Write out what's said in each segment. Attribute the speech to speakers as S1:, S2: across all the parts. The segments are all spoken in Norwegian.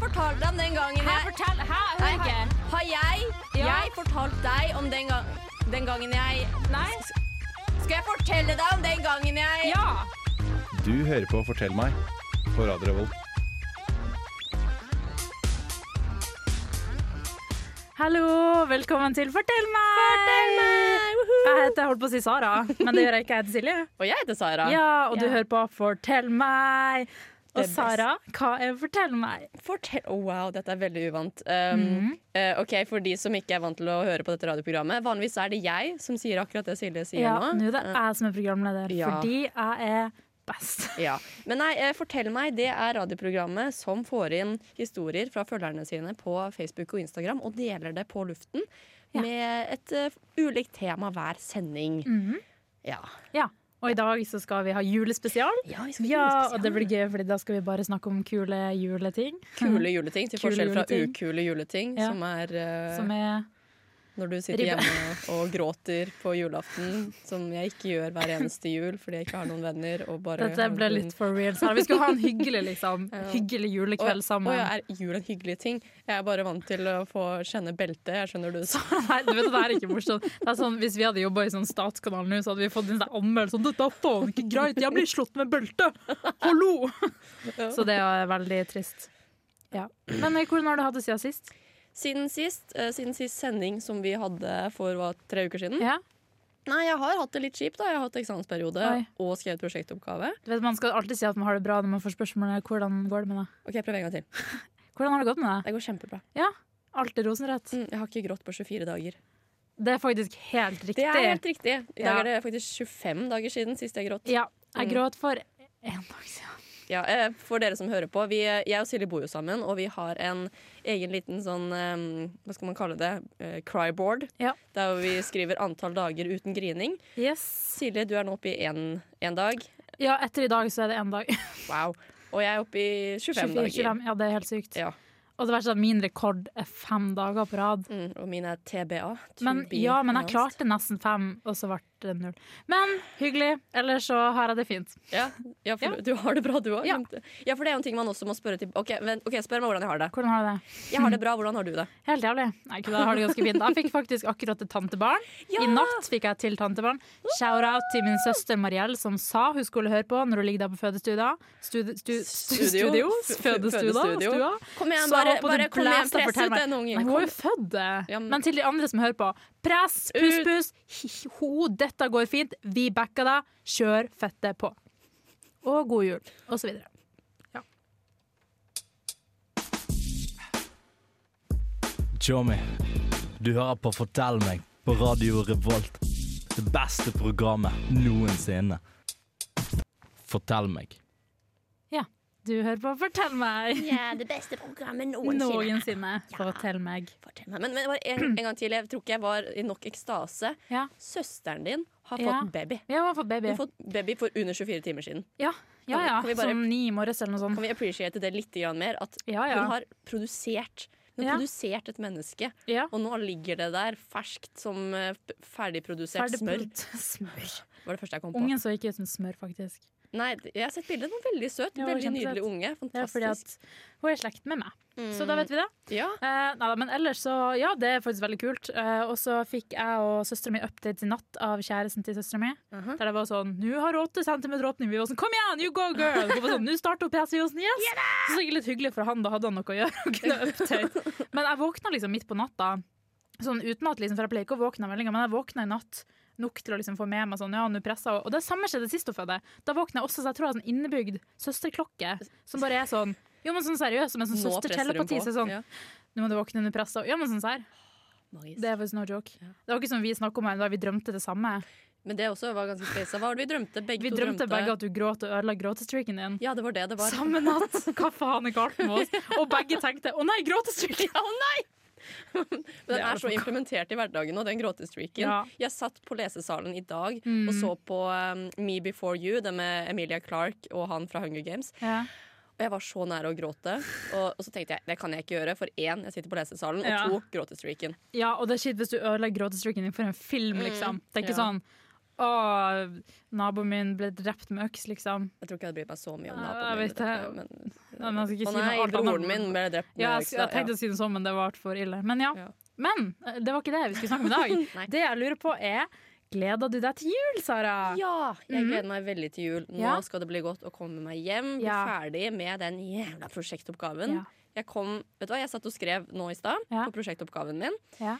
S1: fortalte deg om den gangen
S2: Hæ,
S1: jeg
S2: fortell! Hæ, jeg
S1: Nei,
S2: hører ikke.
S1: Har jeg,
S2: Ja.
S1: jeg fortalt deg om den, gang, den gangen jeg
S2: Nei?
S1: Skal jeg fortelle deg om den gangen jeg
S2: Ja!
S3: Du hører på Fortell meg på Radio Revolt.
S4: Hallo, velkommen til Fortell meg! Fortell meg! Jeg heter, holdt på å si Sara, men det gjør jeg ikke. Jeg heter Silje.
S1: Og jeg heter Sara.
S4: Ja, og du
S2: Ja.
S4: hører på Fortell meg.
S1: Det er
S4: Og
S1: best.
S4: Sara, hva er Fortell meg?
S1: Fortell oh, Wow, dette er veldig uvant. Um, eh, ok, For de som ikke er vant til å høre på dette radioprogrammet, vanligvis er det jeg som sier akkurat det Silje sier
S4: Ja,
S1: nå.
S4: nå er det jeg som er programleder,
S1: Ja.
S4: fordi jeg er best.
S1: Ja. Men nei, eh, fortell meg, det er radioprogrammet som får inn historier fra følgerne sine på Facebook og Instagram og deler det på luften
S4: Ja.
S1: med et eh, ulikt tema hver sending.
S4: Mhm.
S1: Ja.
S4: Ja, og i dag så skal vi ha julespesial.
S1: Ja, vi skal
S4: Ja,
S1: gjøre
S4: og det blir gøy, fordi da skal vi bare snakke om kule juleting.
S1: Kule juleting, til
S4: Kule
S1: forskjell fra
S4: juleting.
S1: ukule juleting,
S4: Ja.
S1: som er eh,
S4: Som er
S1: når du sitter
S4: ribbe.
S1: hjemme og gråter på julaften, som jeg ikke gjør hver eneste jul fordi jeg ikke har noen venner. Og bare
S4: Dette
S1: har
S4: ble
S1: noen-
S4: litt for real. Sara. Vi skulle ha en hyggelig, liksom, hyggelig julekveld sammen.
S1: Å ja, er jul en hyggelig ting? Jeg er bare vant til å få kjenne beltet. Jeg skjønner du sa
S4: Nei, du vet, det er ikke morsomt. Det er sånn, hvis vi hadde jobba i sånn statskanal nå, så hadde vi fått en sånn anmeldelse om dette er faen ikke greit, jeg blir slått med belte! Hallo! Så det er veldig trist. Ja. Men eh, hvordan har du hatt det siden sist?
S1: Siden sist, eh, siden sist sending som vi hadde for hva, tre uker siden
S4: Ja.
S1: Nei, jeg har hatt det litt kjipt. da Jeg har hatt eksamensperiode
S4: Oi.
S1: og skrevet prosjektoppgave.
S4: Du vet, man skal alltid si at man har det bra når man får spørsmålet hvordan går det med deg.
S1: Ok, Prøv en gang til.
S4: Hvordan har det gått med deg?
S1: Det går kjempebra.
S4: Ja, alltid rosenrødt.
S1: Mm, jeg har ikke grått på 24 dager.
S4: Det er faktisk helt riktig.
S1: Det er helt riktig. I dag
S4: Ja.
S1: er det faktisk 25 dager siden sist jeg gråt.
S4: Ja, jeg
S1: Mm.
S4: gråt for én dag siden.
S1: Ja, eh, For dere som hører på, vi, eh, jeg og Silje bor jo sammen, og vi har en egen liten sånn eh, Hva skal man kalle det? Eh, Cryboard.
S4: Ja.
S1: Der hvor vi skriver antall dager uten grining.
S4: Yes.
S1: Silje, du er nå oppe i én én dag.
S4: Ja, etter i dag så er det én dag.
S1: Wow. Og jeg er oppe i 25
S4: 24,
S1: dager.
S4: 25. Ja, det er helt sykt.
S1: Ja.
S4: Og det verste er at min rekord er fem dager på rad.
S1: Mm, og min er TBA. to
S4: Men,
S1: be
S4: ja, men jeg
S1: announced.
S4: klarte nesten fem, og så ble det null. Men hyggelig. Ellers så har jeg det fint.
S1: Ja, ja for
S4: Ja.
S1: du har det bra, du òg.
S4: Ja.
S1: ja, for det er jo en ting man også må spørre til OK, vent, ok, spør meg hvordan jeg har det.
S4: Hvordan har du det?
S1: Jeg har det bra, hvordan har du det?
S4: Helt jævlig. Nei, ikke det. Jeg har det ganske fint. Jeg fikk faktisk akkurat et tantebarn. I natt fikk jeg et til tantebarn. Shout-out til min søster Mariell, som sa hun skulle høre på når hun ligger der på fødestua. Studi stu stu
S1: Studio.
S4: studio.
S1: F- f-
S4: Fødestua.
S1: fødestudio.
S4: Stua.
S1: Kom igjen,
S4: Så
S1: bare,
S4: håper
S1: bare
S4: det
S1: kom igjen,
S4: blæster og
S1: press
S4: fortell
S1: ut
S4: meg.
S1: den
S4: Nei,
S1: ungen.
S4: Hun er
S1: Kom.
S4: jo født, det.
S1: Ja, men-
S4: Men til de andre som hører på, press, puss,
S1: Ut.
S4: puss. Hi, hi, Ho, dette går fint. Vi backer deg. Kjør fettet på. Og god jul, og så videre.
S5: Tjommi, du hører på Fortell meg på Radio Revolt. Det beste programmet noensinne. Fortell meg.
S4: Du hører på Fortell meg
S1: Ja, det beste programmet
S4: noensinne. Fortell meg.
S1: Fortell meg. Men, men bare en, en gang til, jeg tror ikke jeg var i nok ekstase.
S4: Ja.
S1: Søsteren din har
S4: Ja.
S1: fått baby.
S4: Vi har fått
S1: Hun
S4: baby.
S1: har fått baby for under 24 timer siden.
S4: Ja, ja.
S1: Kan vi-
S4: ja.
S1: kan vi bare-
S4: Som ni i morges eller noe sånt.
S1: Kan vi appreciate det litt grann mer? At
S4: Ja, ja.
S1: hun har produsert hun har
S4: Ja.
S1: produsert et menneske,
S4: Ja.
S1: og nå ligger det der ferskt som eh, p- ferdigprodusert smør.
S4: Ferdigprodukt- smør.
S1: Var det første jeg kom på.
S4: Ungen så ikke ut som smør, faktisk.
S1: Nei, d- jeg har sett bildet. Den var veldig søt.
S4: Ja,
S1: veldig
S4: kjempesøt.
S1: nydelig unge.
S4: Det er fordi
S1: Fantastisk. Mm.
S4: at hun er i slekt med meg. Så da vet vi det.
S1: Ja.
S4: Eh, neida, men ellers så, ja, det er faktisk veldig kult. Eh, og så fikk jeg og søstera mi update i natt av kjæresten til søstera mi. Der det var sånn 'Nå har du åtte centimeter åpning.' Vi var sånn 'Kom igjen, you go, girl!' Hun var sånn 'Nå starter hun PC.' Vi var sånn 'Yes!' Så det er litt hyggelig for han, da hadde han noe å gjøre. Og kunne update. Men jeg våkna liksom midt på natta, sånn uten at liksom, for jeg pleier ikke å våkne av meldinger, men jeg våkna i natt. Nok til å liksom få med meg sånn, ja, nå presser hun. Og det samme skjedde sist hun fødte. Da våkna jeg også, så jeg tror jeg har sånn innebygd søsterklokke som bare er sånn Jo, men sånn seriøst, som en sånn
S1: Nå presser hun
S4: søstertelepati.
S1: på.
S4: Så sånn,
S1: Ja.
S4: nå må du våkne under press. og- Ja, men sånn her.
S1: Magisk.
S4: Det er faktisk no joke. Det var ikke som vi snakket om her, da vi drømte det samme.
S1: Men det også var ganske spesa. Hva var det vi drømte? Begge
S4: Vi
S1: to
S4: drømte begge at du gråt og ødela gråtestreaken din.
S1: Ja, det var det det var.
S4: Samme natt! Hva faen er galt med oss? Og begge tenkte 'å nei, gråtestreaken'!
S1: Men
S4: Det
S1: den
S4: er
S1: er
S4: det
S1: så
S4: for-
S1: implementert i hverdagen og den gråtestreaken.
S4: Ja. Mm.
S1: Jeg satt på lesesalen i dag og så på um, Me Before You, det med Emilia Clark og han fra Hunger Games.
S4: Ja.
S1: Og jeg var så nære å gråte. Og, og så tenkte jeg det kan jeg ikke gjøre, for én, jeg sitter på lesesalen, og
S4: Ja.
S1: to, gråtestreaken.
S4: ja, og det er kjipt hvis du ødelegger gråtestreaken din for en film, liksom. Det er ikke
S1: Mm, ja.
S4: sånn Å, naboen min ble drept med øks, liksom.
S1: Jeg tror ikke jeg hadde brydd meg så mye om
S4: Ja,
S1: naboen
S4: jeg
S1: min.
S4: vet det.
S1: men-
S4: Nei, man skal ikke
S1: Å
S4: si noe
S1: nei,
S4: alt
S1: broren
S4: annet.
S1: min ble drept med
S4: Ja, jeg,
S1: økse.
S4: jeg tenkte
S1: ja.
S4: å si det sånn, men det var for ille. Men ja.
S1: Ja.
S4: Men eh, det var ikke det vi skulle snakke om i
S1: Nei.
S4: dag. det jeg lurer på er Gleder du deg til jul, Sara?
S1: Ja, jeg gleder meg veldig til jul. Nå
S4: Mhm. Ja.
S1: skal det bli godt å komme meg hjem. Bli
S4: Ja.
S1: ferdig med den jævla prosjektoppgaven.
S4: Ja.
S1: Jeg kom, vet du hva, jeg satt og skrev nå i stad
S4: Ja.
S1: på prosjektoppgaven min.
S4: Ja.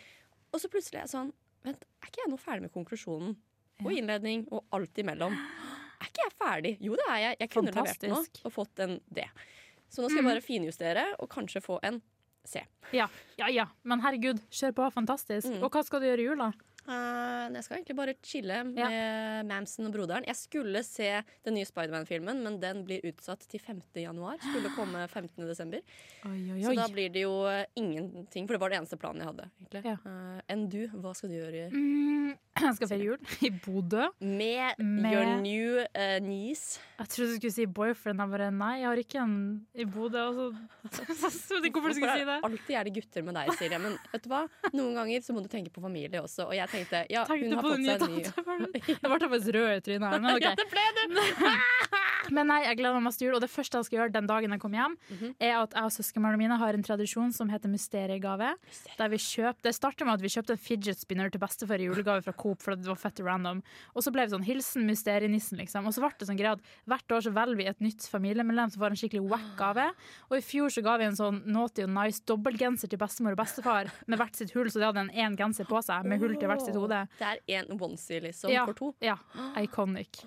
S1: Og så plutselig er jeg sånn Vent, er ikke jeg nå ferdig med konklusjonen? Og innledning og alt imellom. Er ikke jeg ferdig? Jo, det er jeg. Jeg kunne levert noe
S4: Fantastisk. Mhm.
S1: og fått en D. Så nå skal jeg bare finjustere og kanskje få en C.
S4: Ja, ja, ja. Men herregud, kjør på. Fantastisk.
S1: Mm.
S4: Og hva skal du gjøre i jula?
S1: Eh, jeg skal egentlig bare chille med Mamsen og broderen. Jeg skulle se den nye Spiderman-filmen, men den blir utsatt til 5. januar. Skulle komme 15. desember.
S4: Oi, oi,
S1: Så
S4: oi.
S1: da blir det jo eh, ingenting, for det var det eneste planen jeg hadde. egentlig.
S4: Ja.
S1: Eh, enn du, hva skal du gjøre i-
S4: Mm, jeg skal feire jul i Bodø.
S1: med,
S4: Med-
S1: your new eh, niece?
S4: Jeg trodde du skulle si boyfriend. Jeg bare nei, jeg har ikke en i Bodø. Og så så trodde jeg ikke hvorfor du skulle
S1: Hvorfor
S4: si
S1: er-
S4: det.
S1: Alltid er det gutter med deg, Silje. Men vet du hva? noen ganger så må du tenke på familie også. Og jeg tenkte ja, hun
S4: Tenkte
S1: har
S4: på
S1: fått
S4: den nye
S1: seg en ny
S4: tatoen. Det ble jeg faktisk rød i trynet her. Men, ok. men nei, jeg gleder meg masse til jul. Og det første jeg skal gjøre den dagen jeg kommer hjem, er at jeg og søskenbarna mine har en tradisjon som heter mysteriegave. Der vi kjøper, det starter med at vi kjøpte en fidget spinner til bestefar i julegave fra Coop fordi det var fett random. Og så ble vi sånn hilsen mysterienissen, liksom. Og så ble det sånn greie at hvert år så velger vi et nytt familiemedlem som får en skikkelig wack gave. Og i fjor så ga vi en sånn naughty og nice dobbeltgenser til bestemor og bestefar med hvert sitt hull, så de hadde en én genser på seg med hull til hvert sitt hode.
S1: Det er en onesie, liksom,
S4: Ja.
S1: for to.
S4: Ja, iconic.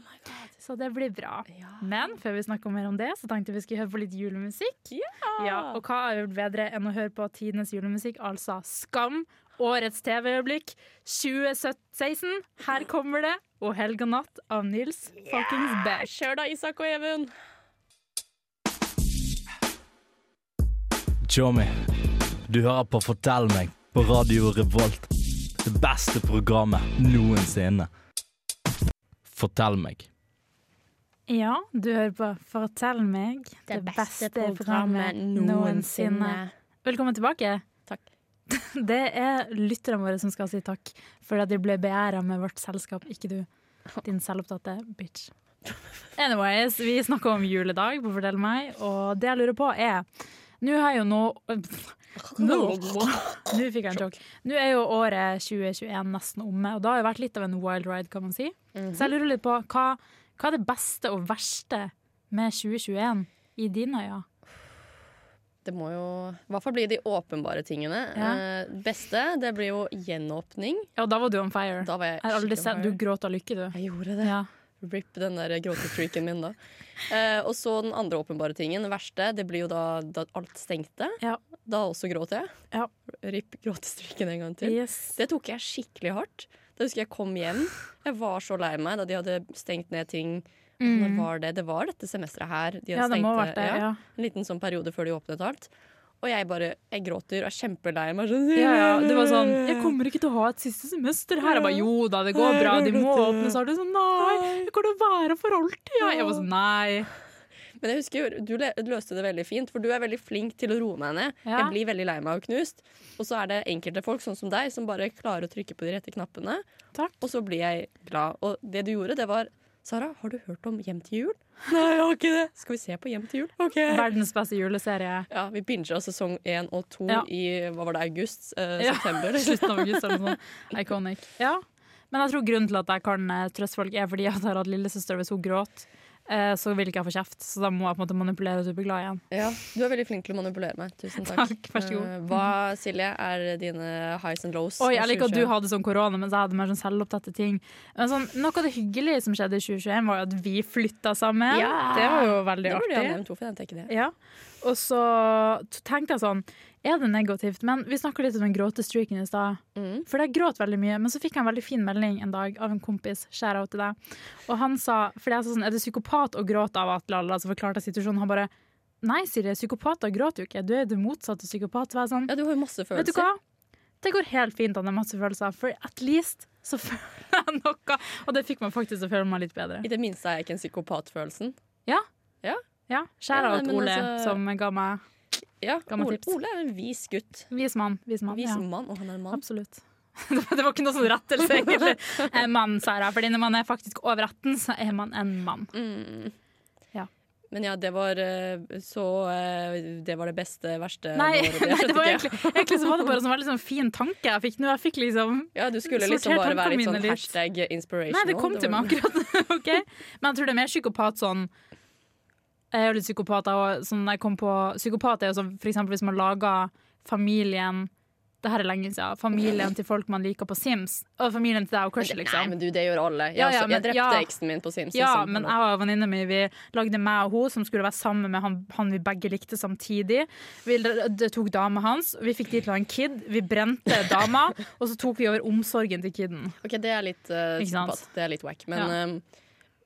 S4: Så det blir bra.
S1: Ja.
S4: Men før vi snakker mer om det, så tenkte vi skulle høre på litt julemusikk. Ja, og hva har gjort bedre enn å høre på tidenes julemusikk, altså Skam, årets TV-øyeblikk 2016. Her kommer det, og Helg og natt av Nils fuckings Bæsj.
S1: Kjør da, Isak og Even!
S5: Tjommi, du hører på Fortell meg på Radio Revolt. Det beste programmet noensinne. Fortell meg.
S4: Ja, du hører på Fortell meg, det, beste, programmet noensinne. Velkommen tilbake.
S1: Takk.
S4: Det er lytterne våre som skal si takk for at de ble beæra med vårt selskap, ikke du. Din selvopptatte bitch. Anyways, vi snakker om juledag på Fortell meg, og det jeg lurer på er Nå har jo nå Nå, nå fikk jeg en sjokk. Nå er jo året 2021 nesten omme, og det har jo vært litt av en wild ride, kan man si. Så jeg lurer litt på hva, hva er det beste og verste med 2021 i dine øyne?
S1: Det må jo I hvert fall bli de åpenbare tingene.
S4: Ja.
S1: Eh, beste, det blir jo gjenåpning.
S4: Ja, da var du on fire.
S1: Da var jeg
S4: jeg har aldri
S1: skikkelig
S4: sett
S1: on
S4: Du
S1: fire.
S4: gråt av lykke, du.
S1: Jeg gjorde det.
S4: Ja.
S1: Rip den der gråtefreaken min, da. Eh, og så den andre åpenbare tingen. Det verste, det blir jo da, da alt stengte.
S4: Ja.
S1: Da også gråt jeg.
S4: Ja.
S1: Rip gråtestreaken en gang til.
S4: Yes.
S1: Det tok jeg skikkelig hardt. Da husker jeg kom hjem. Jeg var så lei meg da de hadde stengt ned ting. Når var det? det var dette semesteret her. De
S4: Mm. Ja,
S1: hadde
S4: det
S1: stengt
S4: må ha vært det. Ja.
S1: En liten sånn periode før de åpnet alt. Og jeg bare jeg gråter og er kjempelei meg. Sånn,
S4: Ja, ja. Det var sånn Jeg kommer ikke til å ha et siste semester her. Jeg bare jo da, det går bra, de må åpne. Så er det sånn nei, jeg kommer til å være for alltid. Ja. Jeg var sånn nei.
S1: Men jeg husker jo, du le- løste det veldig fint, for du er veldig flink til å roe meg ned.
S4: Ja.
S1: Jeg blir veldig lei meg og knust. Og så er det enkelte folk, sånn som deg, som bare klarer å trykke på de rette knappene.
S4: Takk.
S1: Og så blir jeg glad. Og det du gjorde, det var Sara, har du hørt om Hjem til jul? Nei, jeg har ikke det. Skal vi se på Hjem til jul? OK.
S4: Verdens beste juleserie.
S1: Ja, vi binga sesong én og to
S4: Ja.
S1: i hva var det, august? Eh,
S4: Ja.
S1: September?
S4: Slutten av august eller noe sånt. Iconic. sånn, Ja. Men jeg tror grunnen til at jeg kan eh, trøste folk, er fordi at jeg har hatt lillesøster, og hvis hun gråt, eh, så vil ikke jeg få kjeft. Så da må jeg på en måte manipulere og bli glad igjen.
S1: Ja, du er veldig flink til å manipulere meg. Tusen takk.
S4: Takk, vær så god.
S1: Eh, Hva, Silje, er dine highs and lows?
S4: Oi,
S1: av
S4: jeg liker at du
S1: 2021?
S4: hadde sånn korona, mens jeg hadde mer sånn selvopptatte ting. Men sånn, noe av det hyggelige som skjedde i 2021, var jo at vi flytta sammen.
S1: Ja.
S4: Det var jo veldig
S1: Det burde jeg ha
S4: artig.
S1: nevnt. Hvorfor nevnte jeg ikke det?
S4: Ja. Og så t- tenkte jeg sånn Er det negativt? Men vi snakka litt om den gråtestreaken i stad.
S1: Mm.
S4: For jeg gråt veldig mye, men så fikk jeg en veldig fin melding en dag av en kompis. Skjæra til deg. Og han sa Fordi jeg sa sånn Er du psykopat å gråte av Atle Alla? Så forklarte jeg situasjonen. Han bare Nei, Siri, psykopater gråter jo ikke. Du er jo det motsatte av psykopat. Så var jeg sånn
S1: Ja, du har jo masse følelser.
S4: Vet du hva? Det går helt fint at det er masse følelser, for at least så føler jeg noe. Og det fikk meg faktisk til å føle meg litt bedre.
S1: I det minste er jeg ikke en psykopatfølelsen.
S4: Ja, Skjæra
S1: Ja, nei,
S4: til
S1: men
S4: Ole,
S1: altså-
S4: som ga meg
S1: Ja,
S4: Gammelt
S1: Ole,
S4: tips.
S1: Ole er en vis gutt.
S4: Vis mann. Vis mann.
S1: Vis
S4: Ja.
S1: mann, og han er en mann.
S4: Absolutt. Det var ikke noe sånn rettelse, egentlig. Eh, Mann, Sara. Fordi når man er faktisk over 18, så er man en mann.
S1: Mm.
S4: Ja.
S1: Men ja, det var eh, så eh, Det var det beste, verste
S4: Nei,
S1: med året. Jeg
S4: nei, det
S1: skjønte ikke.
S4: var egentlig, egentlig så var det bare en sånn veldig sånn fin tanke jeg fikk nå. Jeg fikk liksom
S1: Ja, du skulle
S4: Sortert
S1: liksom bare være litt
S4: tankene
S1: sånn
S4: mine litt.
S1: hashtag inspirational.
S4: Nei, det kom til meg
S1: var-
S4: akkurat. ok. Men jeg tror det er mer psykopat sånn Jeg er jo litt psykopat, jeg også, Sånn jeg kom på Psykopat er jo sånn for eksempel hvis man lager familien Det her er lenge siden. Familien til folk man liker på Sims. Og familien til deg og crushet,
S1: Nei,
S4: liksom.
S1: men du, det gjør alle. Jeg,
S4: Ja, ja,
S1: også-
S4: men-
S1: jeg drepte
S4: ja.
S1: eksen min på Sims.
S4: Ja,
S1: liksom.
S4: men jeg og venninna mi vi lagde meg og hun som skulle være sammen med han, han vi begge likte samtidig. Vi l- det tok dama hans, vi fikk de til å ha en kid, vi brente dama, og så tok vi over omsorgen til kiden.
S1: Ok, det er litt uh,
S4: Ikke sant?
S1: psykopat. Det er litt wack. Men, um,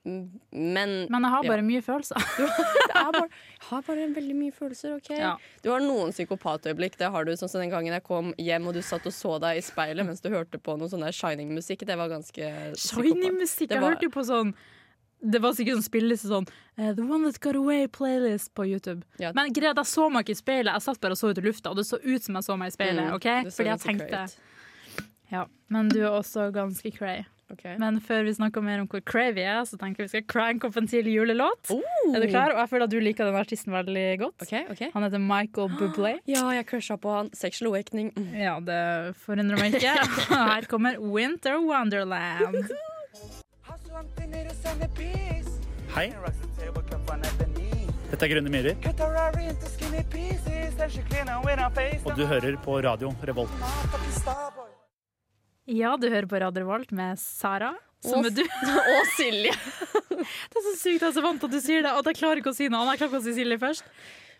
S1: men
S4: Men jeg har
S1: Ja.
S4: bare mye følelser.
S1: det er bare, har bare veldig mye følelser, OK?
S4: Ja.
S1: Du har noen psykopatøyeblikk. Det har du sånn som den gangen jeg kom hjem og du satt og så deg i speilet mens du hørte på noe sånn der Shining-musikk. Det var ganske
S4: Shiny
S1: psykopat.
S4: musikk.
S1: Det
S4: Jeg
S1: var-
S4: hørte jo på sånn Det var sikkert sånn spilleliste sånn eh, The One That Got Away playlist på YouTube.
S1: Ja.
S4: Men greia, jeg så meg ikke i speilet. Jeg satt bare og så ut i lufta, og det så ut som jeg så meg i speilet.
S1: Mm,
S4: ok?
S1: det så
S4: Fordi jeg
S1: ganske
S4: tenkte
S1: cray ut.
S4: ja, Men du er også ganske cray.
S1: Ok.
S4: Men før vi snakker mer om hvor cray vi er, så tenker jeg vi skal crank opp en til julelåt.
S1: Oh!
S4: Er du klar? Og jeg føler at du liker den artisten veldig godt.
S1: OK. ok
S4: Han heter Michael Bublé.
S1: Ja, jeg crusha på han. Sexual awakening. Mm.
S4: Ja, det forundrer meg ikke. Her kommer Winter Wonderland.
S2: Hei, dette er Grønne Myhrer, og du hører på radio Revolt.
S4: Ja, du hører på Radio Revolt med Sara. Som
S1: Og-
S4: er du.
S1: Og Silje.
S4: Det er så sykt jeg er så vant til at du sier det, at jeg klarer ikke å si noe annet. Jeg klarer ikke å si Silje først.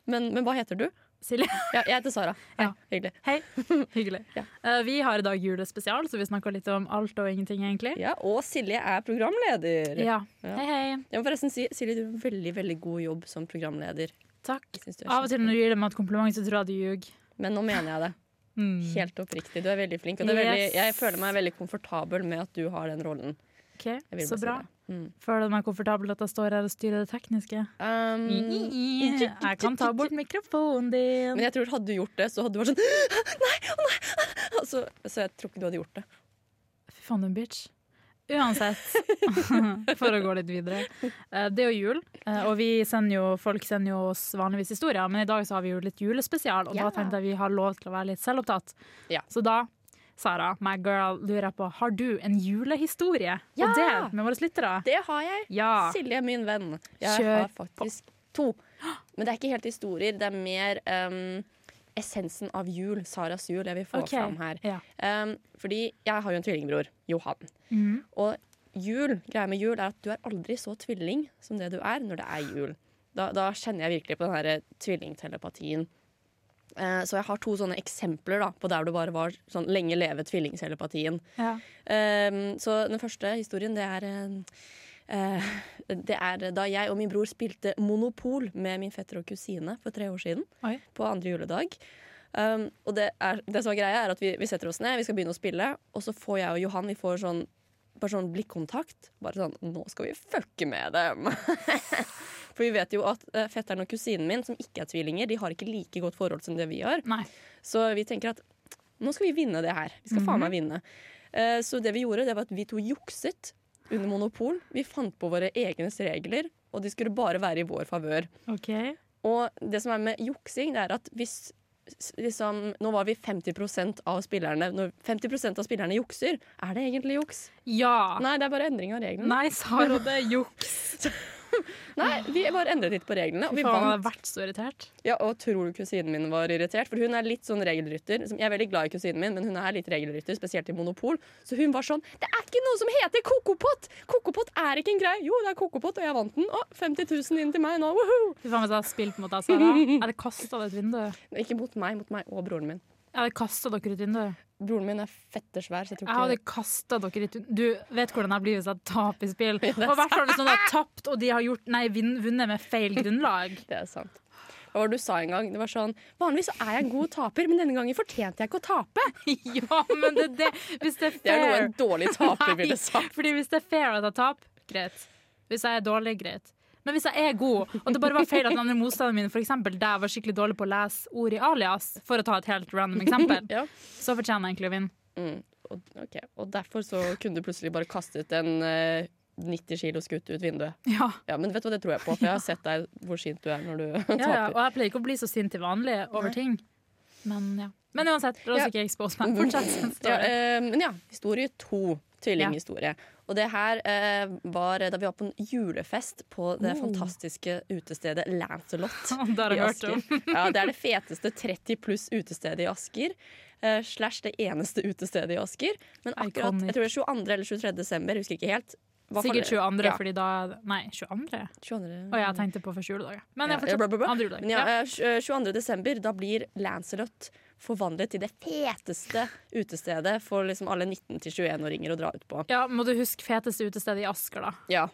S1: Men, men hva heter du?
S4: Silje,
S1: Ja, jeg heter Sara. Hei,
S4: Ja.
S1: Hyggelig.
S4: hei. Hyggelig.
S1: Ja.
S4: Eh, vi har i dag julespesial, så vi snakker litt om alt og ingenting, egentlig.
S1: Ja, og Silje er programleder.
S4: Ja.
S1: Ja.
S4: Hei, hei.
S1: Jeg må forresten si, Silje, du gjør en veldig veldig god jobb som programleder.
S4: Takk.
S1: Jeg synes du er
S4: Av og til når du gir meg et kompliment, så tror jeg du ljuger.
S1: kjempe- Men nå mener jeg det.
S4: Mm.
S1: Helt oppriktig. Du er veldig flink. Og det er veldig,
S4: Yes.
S1: jeg føler meg veldig komfortabel med at du har den rollen.
S4: Ok,
S1: Jeg vil
S4: Så
S1: bare si
S4: bra.
S1: det. Mm.
S4: Føler du meg komfortabel at jeg står her og styrer det tekniske?
S1: Um,
S4: Mm. Jeg kan ta bort mikrofonen din.
S1: men jeg tror hadde du gjort det, så hadde du vært sånn Nei, å nei! ah! Så, så jeg tror ikke du hadde gjort det.
S4: Fy faen, du er en bitch. Uansett, for å gå litt videre. Eh, Det er jo jul, eh, og vi sender jo, folk sender jo oss vanligvis historier, men i dag så har vi jo litt julespesial, og
S1: Ja.
S4: da tenkte jeg vi har lov til å være litt selvopptatt.
S1: Ja.
S4: Så da, Sara, my girl, lurer jeg på, har du en julehistorie
S1: Ja!
S4: å dele med våre lyttere?
S1: Det har jeg.
S4: Ja.
S1: Silje er min venn. Jeg
S4: Kjør
S1: har faktisk to. Men det er ikke helt historier. Det er mer ehm, essensen av jul. Saras jul jeg vil få
S4: Ok.
S1: fram her.
S4: Ja.
S1: Ehm, fordi jeg har jo en tvillingbror, Johan. Og jul, greia med jul er at du er aldri så tvilling som det du er når det er jul. Da, da kjenner jeg virkelig på den her eh, tvillingtelepatien. Eh, så jeg har to sånne eksempler da, på der du bare var sånn lenge leve tvillingtelepatien.
S4: Ja.
S1: Ehm, så den første historien, det er eh, eh, Det er da jeg og min bror spilte Monopol med min fetter og kusine for tre år siden.
S4: Oi.
S1: På andre juledag. Ehm, og det, er, det som er greia, er at vi, vi setter oss ned, vi skal begynne å spille, og så får jeg og Johan vi får sånn, bare sånn blikkontakt. Bare sånn 'Nå skal vi fucke med dem'. For vi vet jo at eh, fetteren og kusinen min, som ikke er tvillinger, de har ikke like godt forhold som det vi har.
S4: Nei.
S1: Så vi tenker at nå skal vi vinne det her. Vi skal faen meg vinne. Eh, så det vi gjorde, det var at vi to jukset under Monopol. Vi fant på våre egne regler, og de skulle bare være i vår favør.
S4: Ok.
S1: Og det som er med juksing, det er at hvis s- liksom, Nå var vi 50 av spillerne. Når 50 av spillerne jukser, er det egentlig juks?
S4: Ja.
S1: Nei, det er bare endring av reglene.
S4: Nei, Sara, det er juks.
S1: Nei, vi bare endret litt på reglene, og vi
S4: Fy faen, jeg
S1: vant.
S4: har vært så irritert.
S1: Ja, og tror du kusinen min var irritert? For hun er litt sånn regelrytter. Som- Jeg er veldig glad i kusinen min, men hun er litt regelrytter, spesielt i Monopol. Så hun var sånn Det er ikke noe som heter kokopott! Kokopott er ikke en greie! Jo, det er kokopott, og jeg vant den. Å, 50 000 inn til meg nå! Woohoo!
S4: Fy faen, hvis jeg hadde spilt mot deg, Sara, jeg hadde kastet deg ut vinduet.
S1: Men Ikke mot meg, mot meg og broren min.
S4: Jeg hadde kastet dere ut vinduet.
S1: Broren min er fettersvær, så jeg
S4: Jeg
S1: tror
S4: hadde
S1: ikke
S4: kasta dere i tun- Du vet hvordan jeg blir hvis jeg taper i spill. Og i hvert fall hvis noen har tapt og de har gjort, nei, vinn- vunnet med feil grunnlag.
S1: det er sant. Hva var det du sa en gang? Det var sånn Vanligvis så er jeg en god taper, men denne gangen fortjente jeg ikke å tape.
S4: Ja, men det, det, hvis det er
S1: Det er noe
S4: fair
S1: en dårlig taper ville sagt.
S4: Fordi hvis det er fair at jeg taper, greit. Hvis jeg er dårlig, greit. Men hvis jeg er god, og det bare var feil at den andre motstanderen min for eksempel, der var skikkelig dårlig på å lese ord i alias, for å ta et helt random eksempel,
S1: Ja.
S4: så fortjener jeg egentlig å vinne.
S1: Mm. og, ok. og derfor så kunne du plutselig bare kastet en eh, 90 kilos gutt ut vinduet.
S4: Ja.
S1: Ja, Men vet du hva, det tror jeg på, for jeg har sett deg hvor sint du er når du
S4: Ja, ja, og
S1: taper.
S4: jeg pleier ikke å bli så sint til vanlig over ting. Men ja. Men uansett, la oss
S1: Ja.
S4: ikke expose meg.
S1: Mm.
S4: Fortsett.
S1: Ja,
S4: Story.
S1: eh, men ja, historie to. Tvillinghistorie. Og det her eh, var da vi var på en julefest på det fantastiske utestedet Lancelot.
S4: Oh. Det har jeg
S1: i
S4: hørt om.
S1: Asker. Ja, det er det feteste 30 pluss utestedet i Asker. eh, slash det eneste utestedet i Asker. Men akkurat
S4: Iconic.
S1: jeg tror det er 22. eller 23. desember, jeg husker ikke helt. Hva faller-
S4: Sikkert 22.,
S1: Ja,
S4: fordi da Nei, 22.?
S1: 22.
S4: Å, jeg tenkte på første juledag. ja. Men jeg
S1: Ja, bra, bra,
S4: fortsatt
S1: bra.
S4: andre juledag.
S1: Men ja,
S4: Ja.
S1: eh, tj- 22. desember, da blir Lancelot forvandlet til det feteste utestedet for liksom alle 19-21-åringer å dra ut på.
S4: ja, må du huske feteste utestedet i Asker, da.
S1: Ja.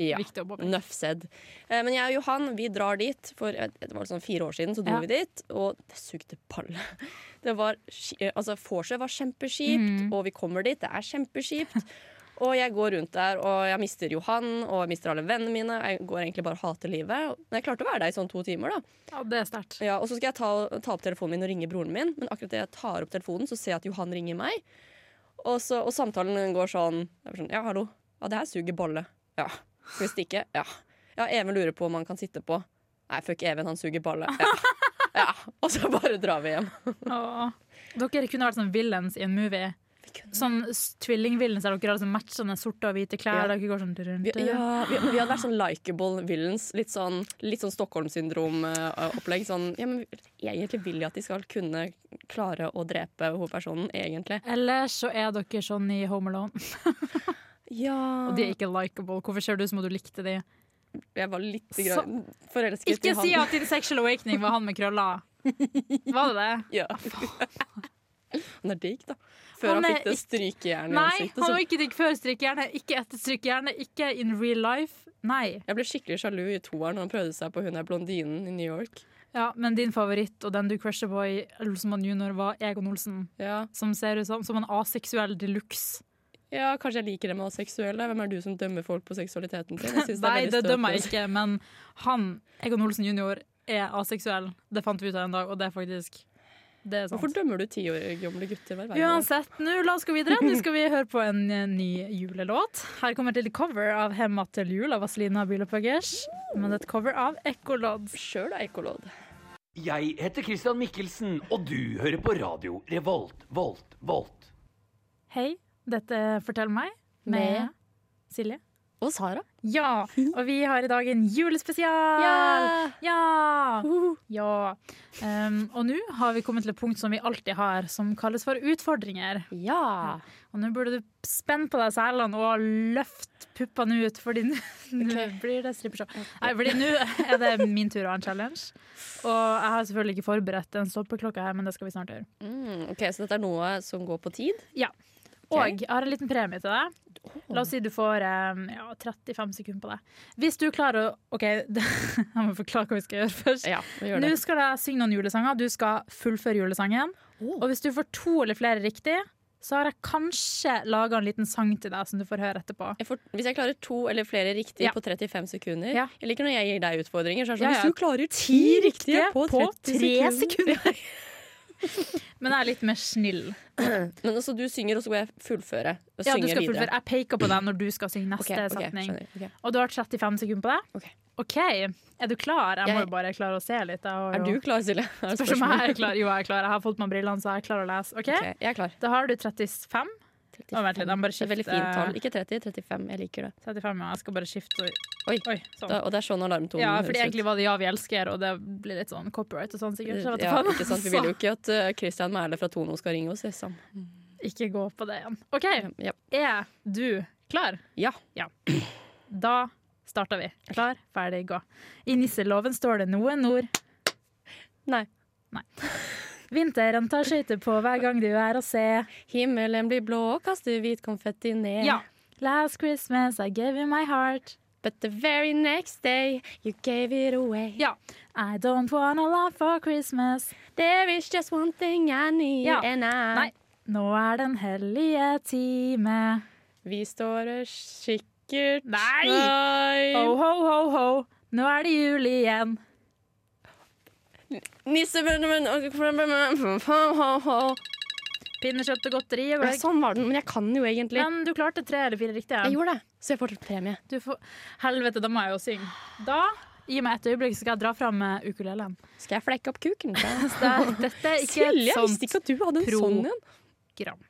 S1: ja.
S4: Viktig å påpeke.
S1: Nøff said. Eh, Men jeg og Johan vi drar dit. For eh, det var sånn fire år siden så dro
S4: Ja.
S1: vi dit, og det sugde ballet. Det var, ski- eh, altså Vorset var kjempeskipt,
S4: Mm.
S1: og vi kommer dit, det er kjempeskipt. Og jeg går rundt der, og jeg mister Johan og jeg mister alle vennene mine. Jeg går egentlig bare og hater livet. Men jeg klarte å være der i sånn to timer. da
S4: Ja, det er sterkt.
S1: ja, Og så skal jeg ta, ta opp telefonen min og ringe broren min, men akkurat det jeg tar opp telefonen, så ser jeg at Johan ringer meg. Og, så, og samtalen går sånn, jeg er sånn Ja, hallo. Ja, det her suger bolle. Ja. Skal vi stikke? Ja. Ja, Even lurer på om han kan sitte på. Nei, fuck Even, han suger balle. Ja. ja. Og så bare drar vi hjem.
S4: Åh. Dere kunne vært sånn villains i en movie. Sånn s- tvillingvillains der dere har sånn matchende sorte og hvite klær.
S1: Ja.
S4: Dere går sånn rundt,
S1: Vi, ja, vi, men vi hadde vært sånn likeable villains. Litt sånn, litt sånn Stockholm-syndrom-opplegg. Sånn, ja, men Egentlig vil jeg at de skal kunne klare å drepe hovedpersonen, egentlig.
S4: Eller så er dere sånn i Home Alone,
S1: Ja.
S4: og de er ikke likable. Hvorfor ser du ut som om du likte de?
S1: Jeg var litt
S4: Så-
S1: grann forelsket i
S4: Ikke
S1: han.
S4: si at din sexual awakening var han med krøller. Var det det?
S1: ja. Han er digg, da. Før
S4: Ah, Han
S1: han,
S4: er
S1: fikk det strykejernet i
S4: Nei,
S1: ansiktet.
S4: han var
S1: Så
S4: ikke digg før strykejerne, ikke etter strykejerne, ikke in real life. Nei.
S1: jeg ble skikkelig sjalu i toeren når han prøvde seg på hun der blondinen i New York.
S4: Ja, men din favoritt og den du crusher på i Olsenmann junior, var Egon Olsen.
S1: Ja,
S4: Som ser ut som, som en aseksuell de luxe.
S1: ja kanskje jeg liker det med aseksuelle. Hvem er du som dømmer folk på seksualiteten sin? Jeg synes det er
S4: Nei,
S1: veldig altså.
S4: det
S1: støtende.
S4: dømmer jeg ikke, men han, Egon Olsen junior, er aseksuell. Det fant vi ut av en dag, og det er faktisk Det er sant.
S1: Hvorfor dømmer du ti år gamle gutter hver vei?
S4: Uansett, nå la oss gå videre. Nå skal vi høre på en eh, ny julelåt. Her kommer et lille cover av 'Hemma til jul' av Vazelina Bilopphøggers. Men et cover av Ekkolodd.
S1: Sjøl er ekkolodd.
S6: Jeg heter Christian Mikkelsen, og du hører på radio Revolt, Volt, Volt.
S4: Hei, dette er Fortell meg med
S1: Med?
S4: Silje.
S1: Og Sara.
S4: Ja, og vi har i dag en julespesial!
S1: Ja!
S4: Ja! Ja. Um, og nå har vi kommet til et punkt som vi alltid har, som kalles for utfordringer.
S1: Ja.
S4: Og nå burde du spenne på deg selene og løfte puppene ut, fordi nå nå blir det strippeshow. Nei, fordi nå er det min tur å ha en challenge. Og jeg har selvfølgelig ikke forberedt en stoppeklokke her, men det skal vi snart gjøre.
S1: Mm, ok, Så dette er noe som går på tid?
S4: Og
S1: Ok.
S4: jeg har en liten premie til deg. La oss si du får eh, ja, 35 sekunder på deg. Hvis du klarer å OK, jeg må forklare hva vi skal gjøre først.
S1: Ja, vi gjør
S4: Nå
S1: det.
S4: skal jeg synge noen julesanger. Du skal fullføre julesangen.
S1: Oh.
S4: Og hvis du får to eller flere riktig, så har jeg kanskje laga en liten sang til deg som du får høre etterpå.
S1: Jeg får, hvis jeg klarer to eller flere riktige
S4: Ja.
S1: på 35 sekunder
S4: Ja.
S1: Jeg liker når jeg gir deg utfordringer. Så er det
S4: Ja,
S1: sånn,
S4: ja.
S1: Hvis du klarer ti riktige på, 30 sekunder,
S4: Men jeg er litt mer snill.
S1: Men altså, Du synger, og så går jeg fullføre. Og
S4: Ja, du
S1: synger
S4: skal
S1: videre.
S4: fullføre. Jeg peker på deg når du skal synge
S1: Ok,
S4: neste
S1: ok,
S4: setning.
S1: skjønner. Ok.
S4: Og du har 35 sekunder på deg.
S1: Ok.
S4: OK, er du klar? Jeg må
S1: Jeg-
S4: jo bare klare å se litt. Jeg har
S1: Er
S4: jo-
S1: du klar, Silje? Er det
S4: Spørs om
S1: spørsmål?
S4: jeg er klar. Jo, jeg er klar. Jeg har fått på meg brillene, så jeg er klar å lese. OK,
S1: Ok, jeg er klar.
S4: da har du 35. Å, vent litt, jeg må bare
S1: Det er veldig
S4: skifte-
S1: fint tall. Ikke 30, 35. Jeg liker det.
S4: 35, ja. Jeg skal bare skifte ord.
S1: Oi.
S4: Oi sånn.
S1: Da, og det er sånn alarmtonen
S4: Ja,
S1: høres
S4: fordi
S1: ut.
S4: egentlig var det Ja, vi elsker, og det blir litt sånn copyright og sånn sikkert. Så jeg vet
S1: ja,
S4: faen.
S1: ikke sant? Vi vil jo ikke at eh, Christian Mæhle fra Tono skal ringe oss. Liksom.
S4: Så ikke gå på det igjen. OK,
S1: Ja.
S4: er du klar?
S1: ja.
S4: Da starter vi. Klar, ferdig, gå. I nisseloven står det noen ord.
S1: Nei.
S4: Vinteren tar skøyter på hver gang du er å se.
S1: Himmelen blir blå og kaster hvit konfetti ned.
S4: Ja. Last Christmas I gave you my heart.
S1: But the very next day you gave it away.
S4: Ja. I don't wanna love for Christmas.
S1: There is just one thing I need,
S4: Ja.
S1: and I
S4: Nei. Nå er den hellige time.
S1: Vi står og sikkert
S4: Nei! Oh.
S1: Nei.
S4: Ho, ho, ho, ho. Nå er det jul igjen.
S1: Nisse, men, men, ho, ho, ho.
S4: pinnekjøttgodteri og
S1: Ja,
S4: gløgg.
S1: sånn var den, men jeg kan jo egentlig.
S4: Men du klarte tre eller fire riktige.
S1: Jeg gjorde det, så jeg får premie.
S4: Du får, helvete, da må jeg jo synge. Da, gi meg et øyeblikk, så skal jeg dra fram eh, ukulelen.
S1: Skal jeg flekke opp kuken? da?
S4: Så det- Dette er ikke
S1: Silje,
S4: et
S1: jeg visste
S4: sånt
S1: ikke at du hadde en
S4: pro-
S1: sånn en.
S4: gram.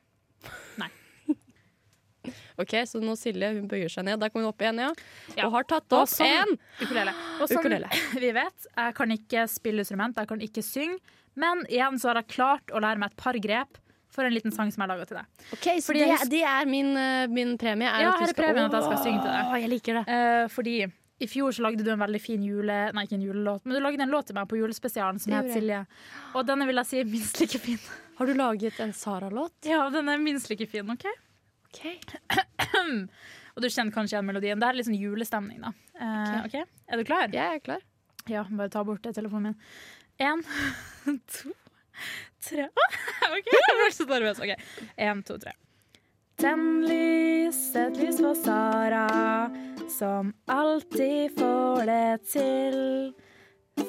S1: Ok, Så nå Silje hun bøyer seg ned. Da kom hun opp igjen, ja.
S4: Ja. sånn.
S1: Og har tatt
S4: Og
S1: opp
S4: som-
S1: en
S4: Ukulele. Og som
S1: Ukulele.
S4: vi vet, jeg kan ikke spille instrument, jeg kan ikke synge, men igjen så har jeg klart å lære meg et par grep for en liten sang som jeg laga til deg.
S1: Ok, Så
S4: Fordi
S1: det,
S4: jeg husker-
S1: det er min, eh, min premie? Er
S4: Ja,
S1: at du
S4: her er
S1: skal-
S4: premien at jeg skal
S1: Åh,
S4: synge til deg.
S1: Jeg liker det.
S4: Eh, fordi i fjor så lagde du en veldig fin jule... Nei, ikke en julelåt, men du lagde en låt til meg på julespesialen som
S1: Det
S4: het
S1: gjorde jeg.
S4: Silje. Og denne vil jeg si er minst like fin.
S1: Har du laget en Sara-låt?
S4: Ja, den er minst like fin, OK?
S1: Ok.
S4: Og du kjenner kanskje igjen melodien. Det er litt sånn julestemning, da. Eh,
S1: Ok.
S4: ok? Er du klar?
S1: Jeg er klar.
S4: Ja, bare ta bort det telefonen min. Én, to, tre Å, OK, jeg ble så nervøs. Ok, Én, to, tre. Tenn lys, et lys for Sara, som alltid får det til.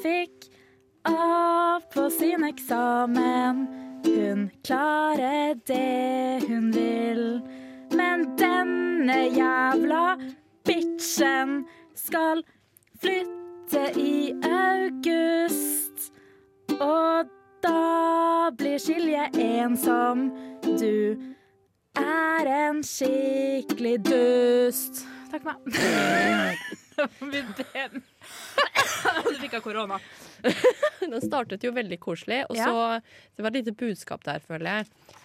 S4: Fikk A på sin eksamen, hun klarer det hun vil. Men denne jævla bitchen skal flytte i august. Og da blir Silje ensom. Du er en skikkelig dust. Takk for meg. Det var min ben. Du fikk av korona.
S1: Den startet jo veldig koselig, og
S4: Ja.
S1: så Det var et lite budskap der, føler jeg.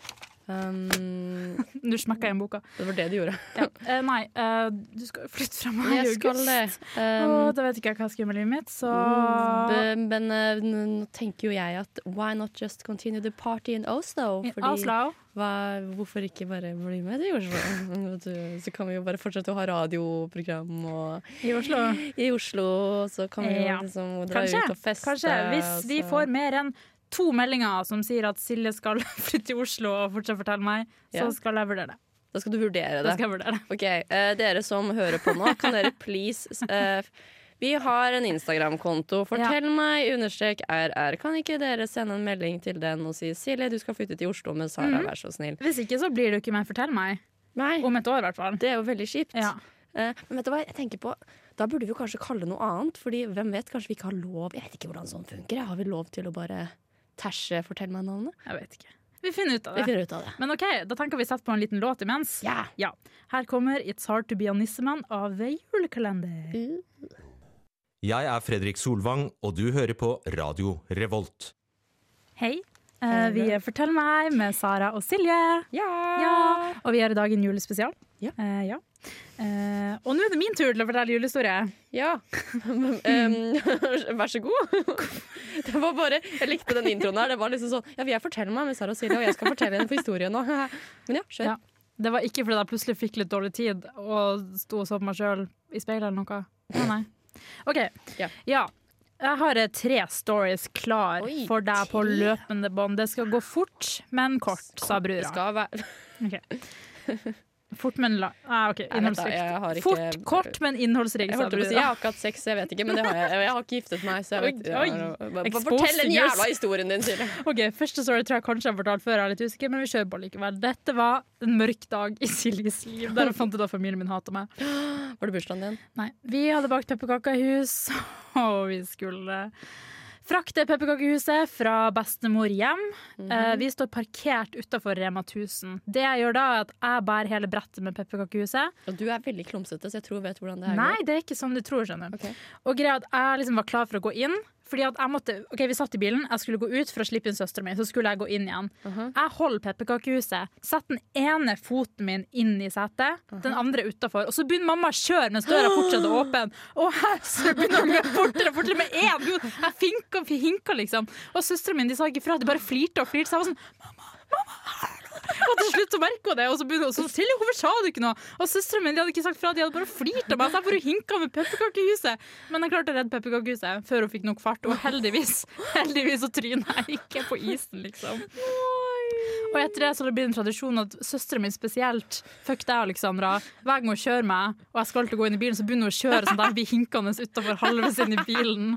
S1: Um,
S4: Du smekka igjen boka.
S1: det var det du gjorde.
S4: Ja. Eh, nei, eh, du skal jo flytte fra meg i
S1: Jeg skal det.
S4: august. Og
S1: Um,
S4: da vet ikke jeg hva jeg skal gjøre med livet mitt, så Mm,
S1: be- men eh, nå tenker jo jeg at why not just continue the party in Oslo?
S4: I
S1: Fordi,
S4: Oslo.
S1: Hva, hvorfor ikke bare bli med til Oslo? Vet du, Så kan vi jo bare fortsette å ha radioprogram og,
S4: I Oslo.
S1: i Oslo, og så kan vi jo
S4: Ja.
S1: liksom dra
S4: Kanskje.
S1: ut og feste.
S4: Kanskje. Hvis vi
S1: og så-
S4: får mer enn to meldinger som sier at Silje skal flytte til Oslo og fortsatt fortelle meg, så
S1: Ja.
S4: skal jeg vurdere det.
S1: Da skal du vurdere
S4: Da
S1: det.
S4: skal jeg vurdere det.
S1: Ok, eh, dere som hører på nå, kan dere please eh, Vi har en Instagram-konto. Fortell meg, understrek RR. Kan ikke dere sende en melding til den og si Silje, du skal flytte til Oslo med
S4: Mm.
S1: Sara, vær så snill.
S4: Hvis ikke så blir det jo ikke mer Fortell meg.
S1: Nei,
S4: Om et år, i hvert fall.
S1: det er jo veldig kjipt.
S4: Ja.
S1: Eh, men vet du hva jeg tenker på? Da burde vi jo kanskje kalle det noe annet, Fordi hvem vet, kanskje vi ikke har lov Jeg vet ikke hvordan sånn funker. jeg. Har vi lov til å bare tæsje 'fortell meg navnet'?
S4: Jeg vet ikke. Vi finner ut av
S1: Vi
S4: det.
S1: finner ut av det.
S4: Men OK, da tenker vi setter på en liten låt imens.
S1: Ja.
S4: Ja. Her kommer It's Hard To Be a Nisseman av The Julekalender.
S7: Jeg er Fredrik Solvang, og du hører på Radio Revolt.
S4: Hei. Eh, vi er Fortell meg med Sara og Silje. Ja. Og vi gjør i dag en julespesial.
S1: Ja.
S4: Eh, ja. Eh, og nå er det min tur til å fortelle julehistorie.
S1: Ja. Em, vær så god. Det var bare, Jeg likte den introen her. Det var liksom sånn Ja, vil jeg fortelle meg med Sara og Silje, og jeg skal fortelle henne for historien nå. Men ja, kjør.
S4: Ja. Det var ikke fordi jeg plutselig fikk litt dårlig tid og sto og så på meg sjøl i speilet eller noe. Nei, nei. OK.
S1: Ja.
S4: Ja. Jeg har eh, tre stories klar
S1: Oi,
S4: for deg på
S1: tre?
S4: løpende bånd. Det skal gå fort, men kort, sa
S1: Det
S4: brura.
S1: skal være
S4: Ok. Fort, men la... Nei, OK.
S1: Nei, vent da, jeg har
S4: Innholdsrikt.
S1: ikke-
S4: Fort, kort, men innholdsrikt,
S1: Jeg
S4: sa
S1: holdt på å si, jeg
S4: brura.
S1: har ikke hatt sex, jeg vet ikke, men det har jeg. Jeg har ikke giftet meg, så jeg vet
S4: Oi, oi.
S1: ja, bare- bare
S4: Exposing
S1: Fortell den
S4: us.
S1: jævla historien din, Silje.
S4: OK, første story tror jeg kanskje jeg har fortalt før, jeg er litt usikker, men vi kjører på likevel. Dette var en mørk dag i Siljes liv, der jeg fant ut at familien min hater meg.
S1: Var det bursdagen din?
S4: Nei, vi hadde bakt pepperkaker i hus, og vi skulle frakte pepperkakehuset fra bestemor hjem. Eh, Vi står parkert utafor Rema 1000. Det jeg gjør da, er at jeg bærer hele brettet med pepperkakehuset.
S1: Og du er veldig klumsete, så jeg tror jeg vet hvordan det er.
S4: Nei, det er ikke som du tror, skjønner du.
S1: Ok.
S4: Og greia er at jeg liksom var klar for å gå inn. Fordi at jeg måtte, ok, Vi satt i bilen, jeg skulle gå ut for å slippe inn søstera mi. Så skulle jeg gå inn igjen. Jeg holder pepperkakehuset, setter den ene foten min inn i setet, den andre utafor. Og så begynner mamma å kjøre mens døra fortsatt er åpen. Og her så begynner hun å gå fortere og fortere med én fot. Jeg finka, hinka, liksom. Og søstera mi de sa ikke fra, de bare flirte og flirte. Så jeg var sånn og til slutt så merker hun det, og så begynner hun sånn Silje, hvorfor sa du ikke noe? Og søsteren min de hadde ikke sagt fra, de hadde bare flirt av meg. Så jeg bare hinka med pepperkakehuset. Men jeg klarte å redde pepperkakehuset før hun fikk nok fart, og heldigvis heldigvis så tryna jeg ikke på isen, liksom. Og etter det så har det blitt en tradisjon at søsteren min spesielt Fuck deg, Alexandra. Hver gang hun kjører meg, og jeg skal til å gå inn i bilen, så begynner hun å kjøre sånn at jeg blir hinkende utenfor halvveis inn i bilen.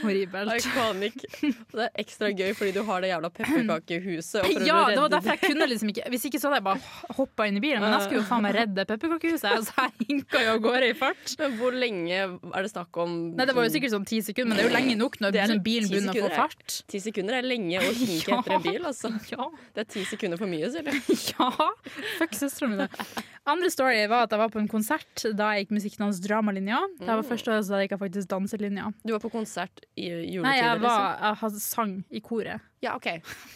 S4: Horribelt.
S1: Iconic. Og det er ekstra gøy fordi du har det jævla pepperkakehuset. og prøver
S4: Ja,
S1: å
S4: det var
S1: redde
S4: derfor jeg kunne liksom ikke Hvis ikke så hadde jeg bare hoppa inn i bilen. Men jeg skulle jo faen meg redde pepperkakehuset, så jeg hinka jo av gårde i fart.
S1: Men hvor lenge er det snakk om?
S4: Nei, Det var jo sikkert sånn ti sekunder, men det er jo lenge nok når
S1: Mm. Det er
S4: sånn bilen
S1: 10
S4: begynner å få
S1: sekunder, ja.
S4: fart.
S1: Ti sekunder er lenge å hinke
S4: Ja.
S1: etter en bil, altså.
S4: Ja.
S1: Det er ti sekunder for mye, sier du.
S4: Ja! Fuck søstera mi, det. Andre story var at jeg var på en konsert da jeg gikk musikkdans dramalinja. Det
S1: Mm.
S4: var første året da jeg gikk jeg faktisk danselinja.
S1: Du var på konsert i juletider,
S4: Nei, jeg,
S1: liksom?
S4: var, jeg had- sang i koret.
S1: Ja, OK.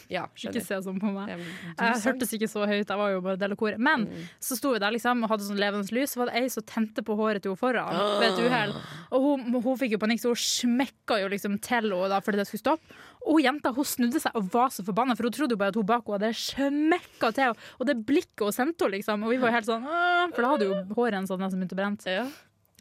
S1: Ja,
S4: Ikke
S1: skjønner.
S4: se sånn på meg.
S1: Jeg,
S4: Jeg hørtes ikke så høyt, jeg var jo bare del av koret. Men så sto vi der liksom og hadde sånn levende lys, så var det ei som tente på håret til henne foran ved et uhell. Og hun, hun fikk jo panikk, så hun smekka jo liksom til henne da fordi det skulle stoppe. Og hun jenta hun snudde seg og var så forbanna, for hun trodde jo bare at hun bak henne hadde smekka til henne. Og det blikket hun sendte henne, liksom. Og vi var jo helt sånn «Åh», For da hadde jo håret hennes hadde nesten begynt å brent.
S1: Ja.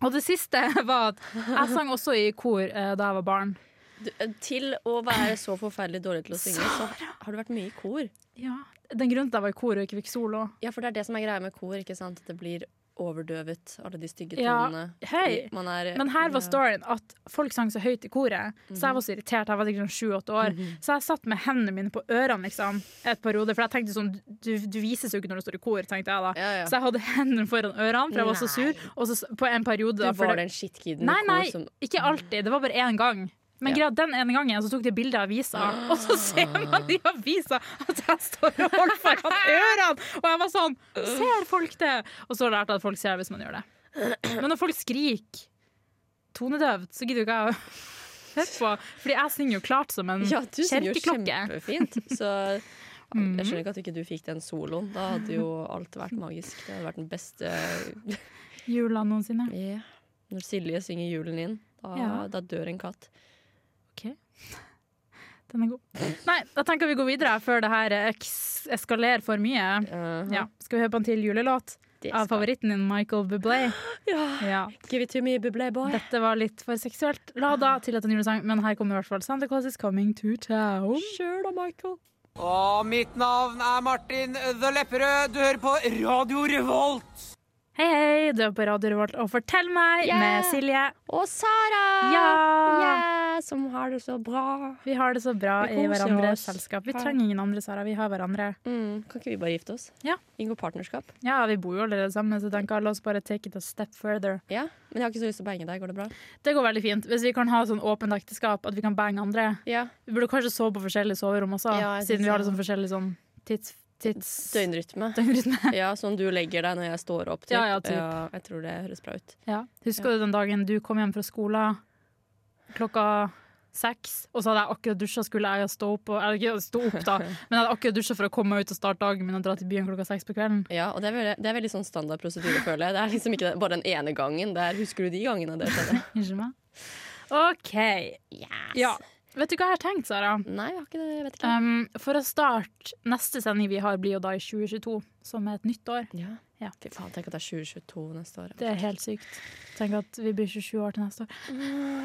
S4: Og det siste var at jeg sang også i kor eh, da jeg var barn.
S1: Du, eh, til å være så forferdelig dårlig til å synge, så har du vært mye i kor.
S4: Ja, Den grunnen til at jeg var i kor og ikke fikk solo.
S1: Ja, for det er det som er greia med kor, ikke sant? At det blir overdøvet, alle de stygge
S4: Ja,
S1: tonene.
S4: hei.
S1: Man er,
S4: Men her
S1: Ja. Mhm.
S4: var storyen at folk sang så høyt i koret, så jeg var så irritert. Jeg var sikkert sånn sju-åtte år. Så jeg satt med hendene mine på ørene liksom, et par hoder, for jeg tenkte sånn du, du vises jo ikke når du står i kor, tenkte jeg da.
S1: Ja, ja.
S4: Så jeg hadde hendene foran ørene, for jeg var så
S1: Nei.
S4: sur. Og så s- på en periode
S1: Du
S4: da, for
S1: var
S4: det,
S1: den shitkiden
S4: Nei,
S1: i kor
S4: nei,
S1: som
S4: ikke alltid. Det var bare én gang. Men
S1: Ja.
S4: greia, den ene gangen så tok de bilde av avisa, og så ser man i avisa at jeg står og holder foran ørene! Og jeg var sånn Ser folk det? Og så har jeg lært at folk ser det hvis man gjør det. Men når folk skriker tonedøvt, så gidder jo ikke jeg å høre på. Fordi jeg synger jo klart som en
S1: Ja, du synger jo
S4: kirkeklokke.
S1: kjempefint. Så
S4: Mm.
S1: jeg skjønner ikke at ikke du fikk den soloen. Da hadde jo alt vært magisk. Det hadde vært den beste
S4: Jula noensinne.
S1: Ja. Når Silje synger julen inn, da,
S4: Ja.
S1: da dør en katt.
S4: Den er god. Nei, da tenker vi går videre før det her eks- eskalerer for mye.
S1: Uh-huh.
S4: Ja. Skal vi høre på en til julelåt
S1: Det
S4: av
S1: skal-
S4: favoritten din, Michael Bublé?
S1: Ja.
S4: Ja.
S1: Give it to me, buble boy.
S4: Dette var litt for seksuelt lada til at en julesang, men her kommer i hvert fall Santa Claus is coming to town.
S1: Sure da, Michael.
S8: Og mitt navn er Martin The Lepperød. Du hører på Radio Revolt.
S4: Hei, hei, du er på Radio Revolt og Fortell meg
S1: Yeah.
S4: med Silje.
S1: Og Sara!
S4: Ja!
S1: Ah, Ja, som har det så bra.
S4: Vi har det så bra
S1: Vi
S4: i
S1: koser
S4: hverandres
S1: oss.
S4: selskap. Vi
S1: Ja.
S4: trenger ingen andre, Sara. Vi har hverandre.
S1: Mm, kan ikke vi bare gifte oss?
S4: Ja.
S1: Inngå partnerskap?
S4: Ja, vi bor jo allerede sammen, så jeg tenker la oss bare take it a step further.
S1: Ja, Men jeg har ikke så lyst til å bange deg. Går det bra?
S4: Det går veldig fint. Hvis vi kan ha sånn åpent ekteskap, at vi kan bange andre.
S1: Ja.
S4: Vi burde kanskje sove på forskjellige soverom også,
S1: Ja, jeg
S4: siden
S1: synes
S4: vi har
S1: det.
S4: det sånn forskjellig sånn tids... tids
S1: Døgnrytme.
S4: døgnrytme.
S1: Ja, Som du legger deg når jeg står opp. Typ.
S4: Ja, ja, typ.
S1: jeg tror det høres bra ut.
S4: Ja. Husker du den dagen du kom hjem fra skolen klokka seks, og så hadde jeg akkurat dusja, skulle jeg stå opp, og, eller ikke stå opp da, men jeg hadde akkurat dusja for å komme meg ut og starte dagen min og dra til byen klokka seks på kvelden.
S1: Ja, og Det er veldig, det er veldig sånn standard prosedyre, føler jeg. Det er liksom ikke det- bare den ene gangen. Det er, husker du de gangene det skjedde?
S4: Unnskyld meg. OK. Ja. Vet du hva jeg har tenkt, Sara?
S1: Nei, jeg har ikke det. Jeg vet ikke.
S4: Um, for å starte neste sending vi har, blir jo da i 2022, som er et nytt år.
S1: ja.
S4: ja.
S1: Fy faen, tenk at det er 2022 neste år.
S4: Det er helt sykt. Tenk at vi blir 27 år til neste år.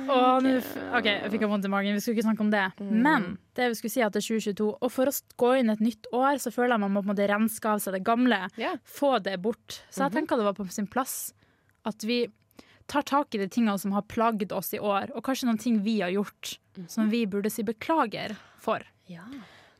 S4: Og nå f OK, jeg fikk vondt i magen. Vi skulle ikke snakke om det. Men det vi skulle si er at det er 2022. Og for å gå inn et nytt år, så føler jeg man må på en måte renske av seg det gamle.
S1: Ja.
S4: Få det bort. Så jeg tenker det var på sin plass at vi tar tak i de tingene som har plagd oss i år, og kanskje noen ting vi har gjort som vi burde si beklager for.
S1: Ja.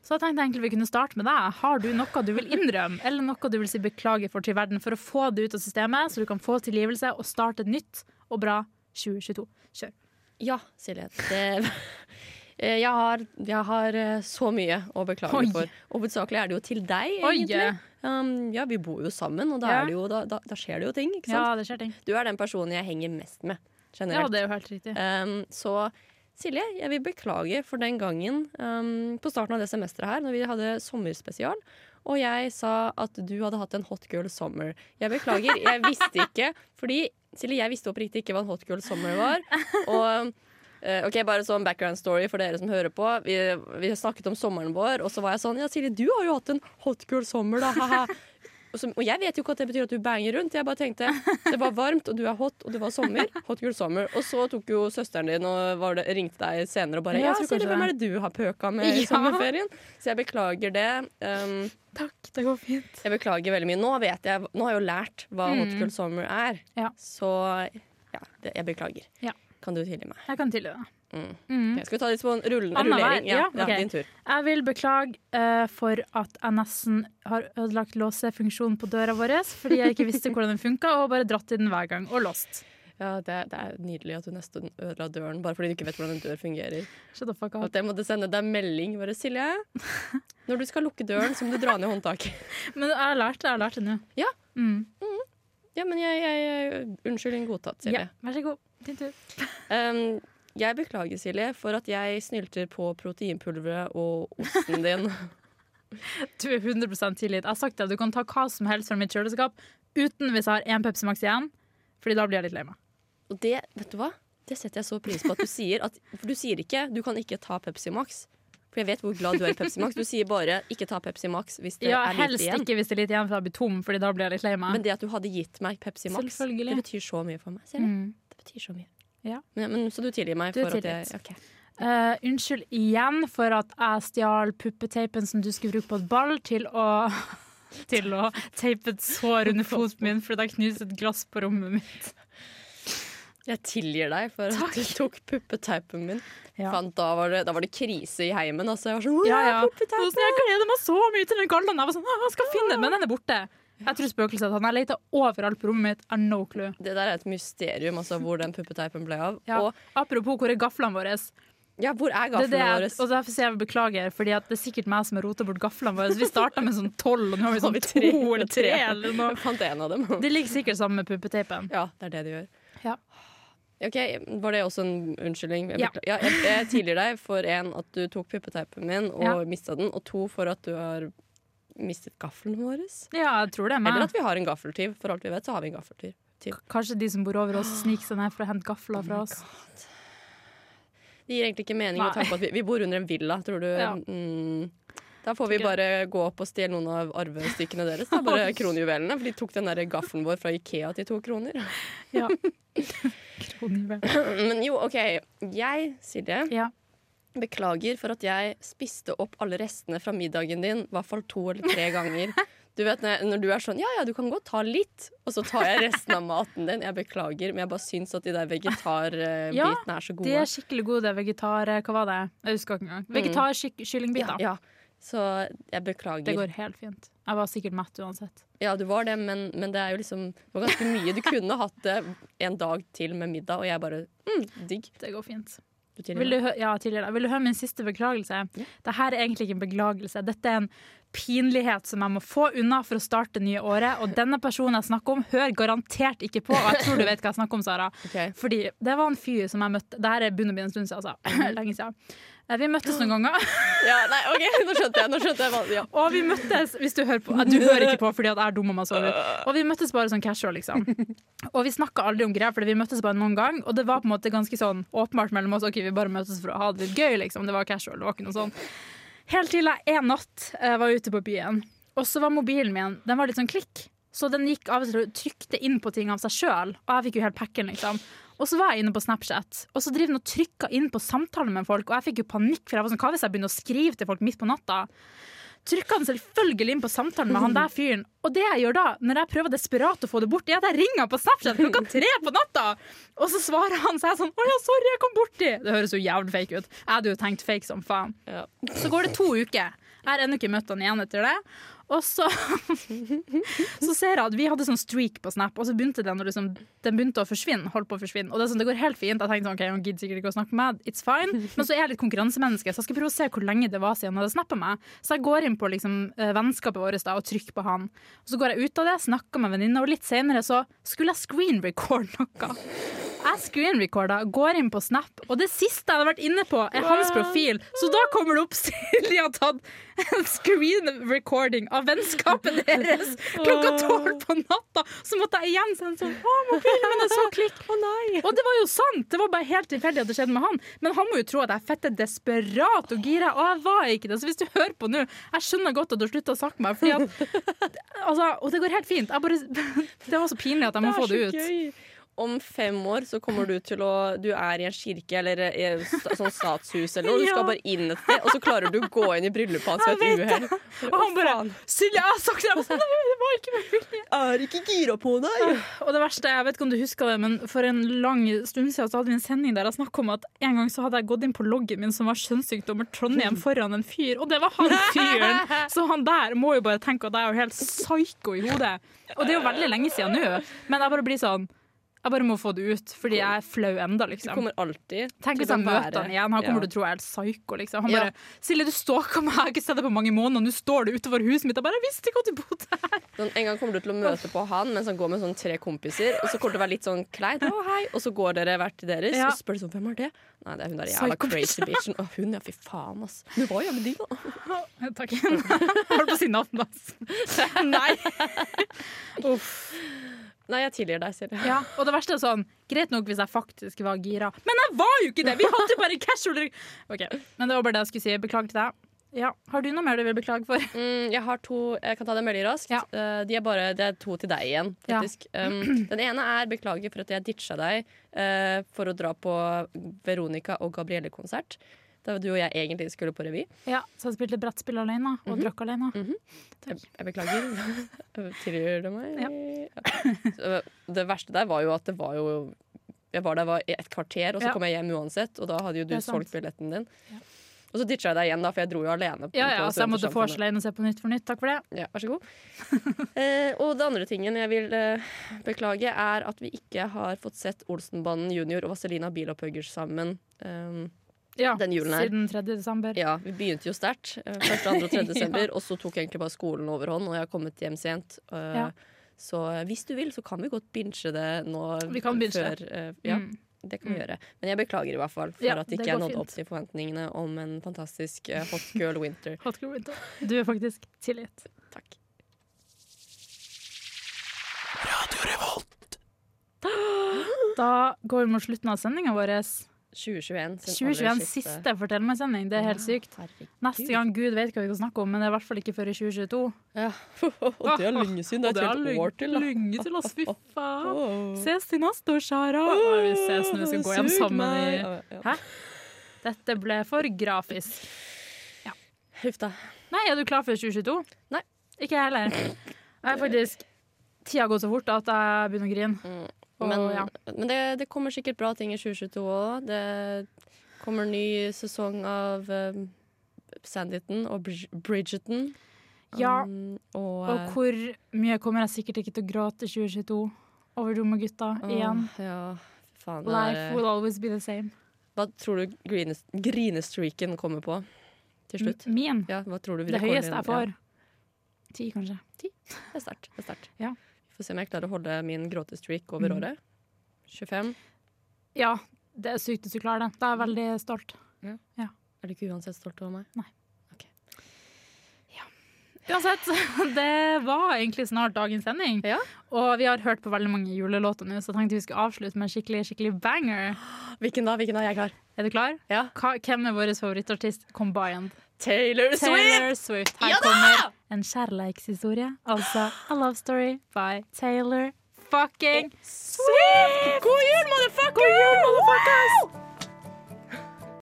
S4: Så jeg tenkte egentlig vi kunne starte med deg. Har du noe du vil innrømme, eller noe du vil si beklager for til verden, for å få det ut av systemet, så du kan få tilgivelse og starte et nytt og bra 2022? Kjør.
S1: Ja, Silje. Det, Eh, jeg, har, jeg har eh, så mye å beklage
S4: Oi.
S1: for. Og hovedsakelig er det jo til deg,
S4: Oi.
S1: egentlig. Um, ja, vi bor jo sammen, og da,
S4: Ja.
S1: er det jo, da, da, da skjer det jo ting. Ikke
S4: Ja,
S1: sant?
S4: det skjer ting.
S1: Du er den personen jeg henger mest med,
S4: Ja,
S1: generelt.
S4: det er jo helt riktig.
S1: Um, så Silje, jeg vil beklage for den gangen um, på starten av det semesteret her, når vi hadde sommerspesial, og jeg sa at du hadde hatt en hot girl summer. Jeg beklager, jeg visste ikke, fordi Silje, jeg visste oppriktig ikke hva en hot girl summer var. Og eh, ok, Bare sånn background story for dere som hører på. Vi, vi snakket om sommeren vår, og så var jeg sånn Ja, Silje, du har jo hatt en hot girl summer, da. haha. Og som, og jeg vet jo ikke at det betyr at du banger rundt. Jeg bare tenkte det var varmt, og du er hot, og det var sommer. Hot girl summer. Og så tok jo søsteren din og var det, ringte deg senere og bare
S4: Ja,
S1: Ja, Silje,
S4: kanskje
S1: hvem
S4: det.
S1: er det du har pøka med i
S4: Ja.
S1: sommerferien? Så jeg beklager det. Um,
S4: Takk, det går fint.
S1: jeg beklager veldig mye. Nå, vet jeg, nå har jeg jo lært hva hot girl summer er.
S4: Mm. Ja.
S1: Så ja, det, jeg beklager.
S4: Ja.
S1: Kan du tilgi meg?
S4: Jeg kan tilgi det.
S1: Ok, skal vi ta litt på en rull,
S4: Anna
S1: rullering?
S4: hver, ja, ok.
S1: din tur.
S4: Jeg vil beklage eh, for at jeg nesten har ødelagt låsefunksjonen på døra vår, fordi jeg ikke visste hvordan den funka, og bare dratt i den hver gang og låst.
S1: Ja, det, er- det er nydelig at du nesten ødela døren bare fordi du ikke vet hvordan en dør fungerer.
S4: Shut the fuck
S1: Og
S4: up.
S1: At jeg måtte sende deg melding. Bare, Silje, når du skal lukke døren, så må du dra ned håndtaket.
S4: Men jeg har lært det. Jeg har lært det nå.
S1: Ja.
S4: Mm.
S1: Ja, men jeg, jeg Unnskyldning godtatt, Silje.
S4: ja. Vær så god. Din tur.
S1: Um, jeg beklager, Silje, for at jeg snylter på proteinpulveret og osten din.
S4: Du er 100 tilgitt. Jeg har sagt det, du kan ta hva som helst fra mitt kjøleskap uten hvis jeg har én Pepsi Max igjen, Fordi da blir jeg litt lei meg.
S1: og det, vet du hva? Det setter jeg så pris på at du sier. At, for du sier ikke 'du kan ikke ta Pepsi Max'. For jeg vet hvor glad du er i Pepsi Max. Du sier bare 'ikke ta Pepsi Max' hvis det
S4: Ja,
S1: er lite
S4: helst
S1: igjen.
S4: ikke hvis det er litt igjen, for jeg blir tom, Fordi da blir jeg litt lei meg.
S1: Men det at du hadde gitt meg Pepsi Max,
S4: Selvfølgelig.
S1: det betyr så mye for meg. Silje.
S4: Mm.
S1: Det betyr så mye.
S4: Ja.
S1: Men, men, så du tilgir meg
S4: Du er
S1: for at jeg
S4: tilgitt.
S1: ok.
S4: Eh, unnskyld igjen for at jeg stjal puppeteipen som du skulle bruke på et ball, til å, til å teipe et sår under foten min fordi jeg knuste et glass på rommet mitt.
S1: Jeg tilgir deg for at du tok puppeteipen min.
S4: Ja.
S1: Faen, da, var det, da var det krise i heimen. Altså. Jeg var sånn,
S4: Ja,
S1: ja,
S4: ja. Og sånn,
S1: puppeteipen!
S4: Jeg gleder meg så mye til den gallaen. Jeg var sånn, «Å, jeg skal finne den, men den er borte. Jeg tror spøkelset at han har leita overalt på rommet mitt. I have no clue.
S1: Det der er et mysterium, altså, hvor den puppeteipen ble av.
S4: Ja.
S1: Og
S4: Apropos hvor er gaflene våre.
S1: ja, hvor er
S4: Det er altså det
S1: gaflene
S4: jeg,
S1: våre?
S4: og derfor sier jeg beklager, Fordi at det er sikkert meg som har rota bort gaflene våre. Vi starta med sånn tolv, og nå har vi sånn to eller tre. Eller noe.
S1: Jeg fant en av dem.
S4: Det ligger sikkert sammen med puppeteipen.
S1: Ja, det er det de gjør.
S4: Ja.
S1: Ok, Var det også en unnskyldning? Jeg,
S4: Ja.
S1: bekla- ja, jeg, jeg tilgir deg for en, at du tok puppeteipen min og
S4: Ja.
S1: mistet mista den, og to, for at du har mistet gaffelen vår.
S4: Ja, jeg tror det er meg.
S1: Eller at vi har en gaffeltyv. For alt vi vet, så har vi en gaffeltyv.
S4: Kanskje de som bor over oss sniker seg ned for å hente gafler fra oss.
S1: Det gir egentlig ikke mening
S4: Nei.
S1: å ta på at vi, vi bor under en villa, tror du.
S4: Ja.
S1: Mm, da får vi
S4: Ikke.
S1: bare gå opp og stjele noen av arvestykkene deres. Da, bare kronjuvelene, for de tok den der gaffelen vår fra Ikea til to kroner.
S4: Ja. Kronjuvel.
S1: Men jo, OK. Jeg, Silje,
S4: Ja.
S1: beklager for at jeg spiste opp alle restene fra middagen din i hvert fall to eller tre ganger. Du vet når, når du er sånn Ja, ja, du kan godt ta litt, og så tar jeg resten av maten din. Jeg beklager, men jeg bare syns at de der vegetarbitene
S4: Ja,
S1: er så gode.
S4: De er skikkelig gode, Mm. vegetar... Hva var det? Jeg husker ikke engang. Vegetarkyllingbiter.
S1: Ja, ja. Så jeg beklager.
S4: Det går helt fint. Jeg var sikkert mett uansett.
S1: Ja, du var det, men, men det er jo liksom Det var ganske mye. Du kunne hatt det en dag til med middag, og jeg bare mm, digg.
S4: Det går fint.
S1: Du tilgir
S4: Vil
S1: meg.
S4: du, hø- ja, tidligere. Vil du høre min siste beklagelse? Dette er egentlig ikke en beklagelse. Dette er en pinlighet som jeg må få unna for å starte det nye året. Og denne personen jeg snakker om, hører garantert ikke på. Og jeg tror du vet hva jeg snakker om, Sara.
S1: Ok.
S4: Fordi det var en fyr som jeg møtte Det her er begynner å bli en stund siden, altså. Lenge siden. Eh, Vi møttes noen ganger.
S1: Ja, nei, OK, nå skjønte jeg. Nå skjønte jeg hva- ja.
S4: Og vi møttes Hvis du hører på eh, Du hører ikke på fordi at jeg er dum og meg sover. Og vi møttes bare sånn casual, liksom. Og vi snakka aldri om greier, fordi vi møttes bare noen gang. Og det var på en måte ganske sånn åpenbart mellom oss. Ok, vi bare møtes for å ha det litt gøy, liksom. Det var casual. Det var ikke noe sånn. Helt til jeg en natt eh, var ute på byen, og så var mobilen min Den var litt sånn klikk. Så den gikk av og til og trykte inn på ting av seg sjøl, og jeg fikk jo helt packen, liksom. Og så var jeg inne på Snapchat, og så driver den og trykker inn på samtaler med folk, og jeg fikk jo panikk, for jeg var sånn, hva hvis jeg begynner å skrive til folk midt på natta? trykka han selvfølgelig inn på samtalen med han der fyren. Og det jeg gjør da, når jeg prøver desperat å få det bort, er at jeg ringer han på Snapchat klokka tre på natta! Og så svarer han seg sånn 'Å ja, sorry, jeg kom borti'. Det høres jo jævlig fake ut. Jeg hadde jo tenkt fake som faen.
S1: Ja.
S4: Så går det to uker. Jeg har ennå ikke møtt han igjen etter det. Og så, så ser jeg at vi hadde sånn streak på Snap, og så begynte den, å liksom, den begynte å forsvinne. Holdt på å forsvinne Og det, er sånn, det går helt fint. Jeg tenkte sånn, ok, han gidder sikkert ikke å snakke med meg. It's fine. Men så er jeg litt konkurransemenneske, så jeg skal prøve å se hvor lenge det var siden han hadde snappa meg. Så jeg går inn på liksom, eh, vennskapet vårt da, og trykker på han. Og så går jeg ut av det, snakker med venninna, og litt senere så skulle jeg screen record noe. Jeg screenrecorda, går inn på Snap, og det siste jeg har vært inne på, er hans profil. Så da kommer det opp Silje har tatt en screenrecording av vennskapet deres klokka tolv på natta. Så måtte jeg igjen sende sånn Å, mobilen min er så klikk. Og det var jo sant! Det var bare helt tilfeldig at det skjedde med han. Men han må jo tro at jeg er fette desperat og gira, og jeg var ikke det. Så hvis du hører på nå, jeg skjønner godt at du har slutta å snakke med meg, fordi at Altså, og det går helt fint. Jeg bare Det var så pinlig at jeg må få det ut.
S1: gøy. Om fem år så kommer du til å Du er i en kirke eller i et sta- sånn statshus eller noe. Du skal
S4: Ja.
S1: bare inn et sted, og så klarer du å gå inn i bryllupet hans ved et
S4: Jeg vet
S1: uhell.
S4: Og han bare Silje, jeg har sagt det! Jeg var sånn, «Nei, det var ikke med vilje.
S1: Er ikke gira på deg!
S4: Og det verste, jeg vet ikke om du husker det, men for en lang stund siden så hadde vi en sending der jeg snakket om at en gang så hadde jeg gått inn på loggen min som var kjønnssykdommer Trondheim foran en fyr, og det var han fyren! Så han der må jo bare tenke at jeg er jo helt psyko i hodet. Og det er jo veldig lenge siden nå, men jeg bare blir sånn jeg bare må få det ut, fordi jeg er flau enda, liksom.
S1: Kommer alltid
S4: Tenk hvis
S1: til å
S4: jeg møter
S1: være-
S4: han igjen, han kommer
S1: Ja.
S4: til å tro jeg er helt psyko, liksom. Han
S1: Ja.
S4: bare 'Silje, du stalka meg, jeg har ikke sett deg på mange måneder, nå står du utover huset mitt.' Jeg bare 'Jeg visste ikke at du bodde her'.
S1: Sånn, en gang kommer du til å møte på han mens han går med sånn tre kompiser. Og så kommer det til å være litt sånn kleint. Å, hei. Og så går dere hvert til deres
S4: Ja.
S1: og spør sånn, hvem er det? Nei, det er hun der jævla
S4: Psycho bitch.
S1: crazy bitchen. Å, hun, ja, fy faen, ass. Hun var jævlig digg, da.
S4: Takk. Holdt på å si navnet hans. Nei. Uff.
S1: Nei, jeg tilgir deg, Silje.
S4: Ja, og det verste er sånn Greit nok hvis jeg faktisk var gira, men jeg var jo ikke det! Vi hadde jo bare casual Ok, Men det var bare det jeg skulle si. Beklager til deg. Ja, Har du noe mer du vil beklage for?
S1: Mm, jeg har to Jeg kan ta dem veldig raskt.
S4: Ja.
S1: Eh, de er bare, det er to til deg igjen,
S4: Ja.
S1: faktisk. Um, den ene er beklager for at jeg ditcha deg eh, for å dra på Veronica og Gabrielle-konsert. Da du og jeg egentlig skulle på revy.
S4: Ja, Så jeg spilte brettspill alene og drakk alene.
S1: Jeg, jeg beklager. Tilgir du meg?
S4: Ja.
S1: Ja. Så, øh, Det verste der var jo at det var jo Jeg var der var i et kvarter, og så
S4: Ja.
S1: kom jeg hjem uansett, og da hadde jo du
S4: Det er sant.
S1: solgt billetten din. Og så ditcha jeg deg igjen, da, for jeg dro jo alene.
S4: Ja, ja,
S1: på
S4: Så jeg måtte få
S1: Studentersamfunnet.
S4: alene og se på Nytt for nytt. Takk for det.
S1: Ja, vær så god. eh, og det andre tingen jeg vil eh, beklage, er at vi ikke har fått sett Olsenbanden junior og Vazelina Bilopphøggers sammen. Um,
S4: Ja,
S1: Den julen her.
S4: Siden 3. desember.
S1: ja, vi begynte jo sterkt. eh, Første, andre og tredje desember. Og så tok egentlig bare skolen overhånd, og jeg har kommet hjem sent. Eh,
S4: Ja.
S1: Så eh, hvis du vil, så kan vi godt binche det nå.
S4: Vi kan binge
S1: før, eh, ja,
S4: Mm.
S1: det kan vi gjøre. Men jeg beklager i hvert fall for
S4: Ja,
S1: at
S4: det
S1: ikke jeg
S4: går
S1: nådde
S4: fint.
S1: opp til forventningene om en fantastisk eh, hot girl winter.
S4: Hot girl winter. Du er faktisk tilgitt.
S1: Takk.
S4: Da går vi mot slutten av sendinga vår.
S1: 2021. sin aller
S4: 2021 siste Fortell meg-sending. Det er helt sykt.
S1: Herregud.
S4: Neste gang gud vet hva vi skal snakke om, men det er i hvert fall ikke før i 2022.
S1: Ja. og det er lenge siden. Det er et helt år til. da.
S4: lenge til oss, fy faen.
S1: Åh.
S4: Ses til neste år, Sara. Oi, vi ses når vi skal gå hjem
S1: Sug
S4: sammen i
S1: meg. Ja, ja.
S4: Hæ? Dette ble for grafisk.
S1: Huff da.
S4: Nei, er du klar for 2022?
S1: Nei.
S4: Ikke jeg heller. Jeg er faktisk Tida går så fort at jeg begynner å grine. Og,
S1: Mm. Men,
S4: ja.
S1: men det, det kommer sikkert bra ting i 2022 òg. Det kommer ny sesong av um, Sanditon og Bridg- Bridgerton.
S4: ja.
S1: Um, og,
S4: Og hvor mye kommer jeg sikkert ikke til å gråte i 2022 over dumme gutta
S1: eh,
S4: igjen.
S1: åh, Ja, fy faen. det
S4: Life
S1: er-
S4: will always be the same.
S1: hva tror du grine- grinestreaken kommer på til slutt?
S4: M- Min.
S1: Ja, hva tror du vi
S4: Mm. Det
S1: rekorder
S4: høyeste
S1: igjen?
S4: jeg får. Ti, kanskje.
S1: Ja, det er sterkt. det er sterkt.
S4: Ja.
S1: Vi får se om jeg klarer å holde min gråtestreak over
S4: Mm.
S1: året. 25.
S4: Ja, det er sykt hvis du klarer det. Da er jeg veldig stolt.
S1: Er du ikke uansett stolt over meg?
S4: Uansett, det var egentlig snart dagens sending.
S1: Ja.
S4: Og vi har hørt på veldig mange julelåter nå, så jeg tenkte vi skulle avslutte med en skikkelig, skikkelig banger.
S1: Ah, Hvilken da? Hvilken da? Jeg er klar.
S4: Er du klar?
S1: Ja.
S4: Hva, hvem er vår favorittartist combined?
S1: Taylor
S4: Taylor Swift. Her kommer en kjærleikshistorie, altså A Love Story by Taylor fucking Swift! God jul, mann!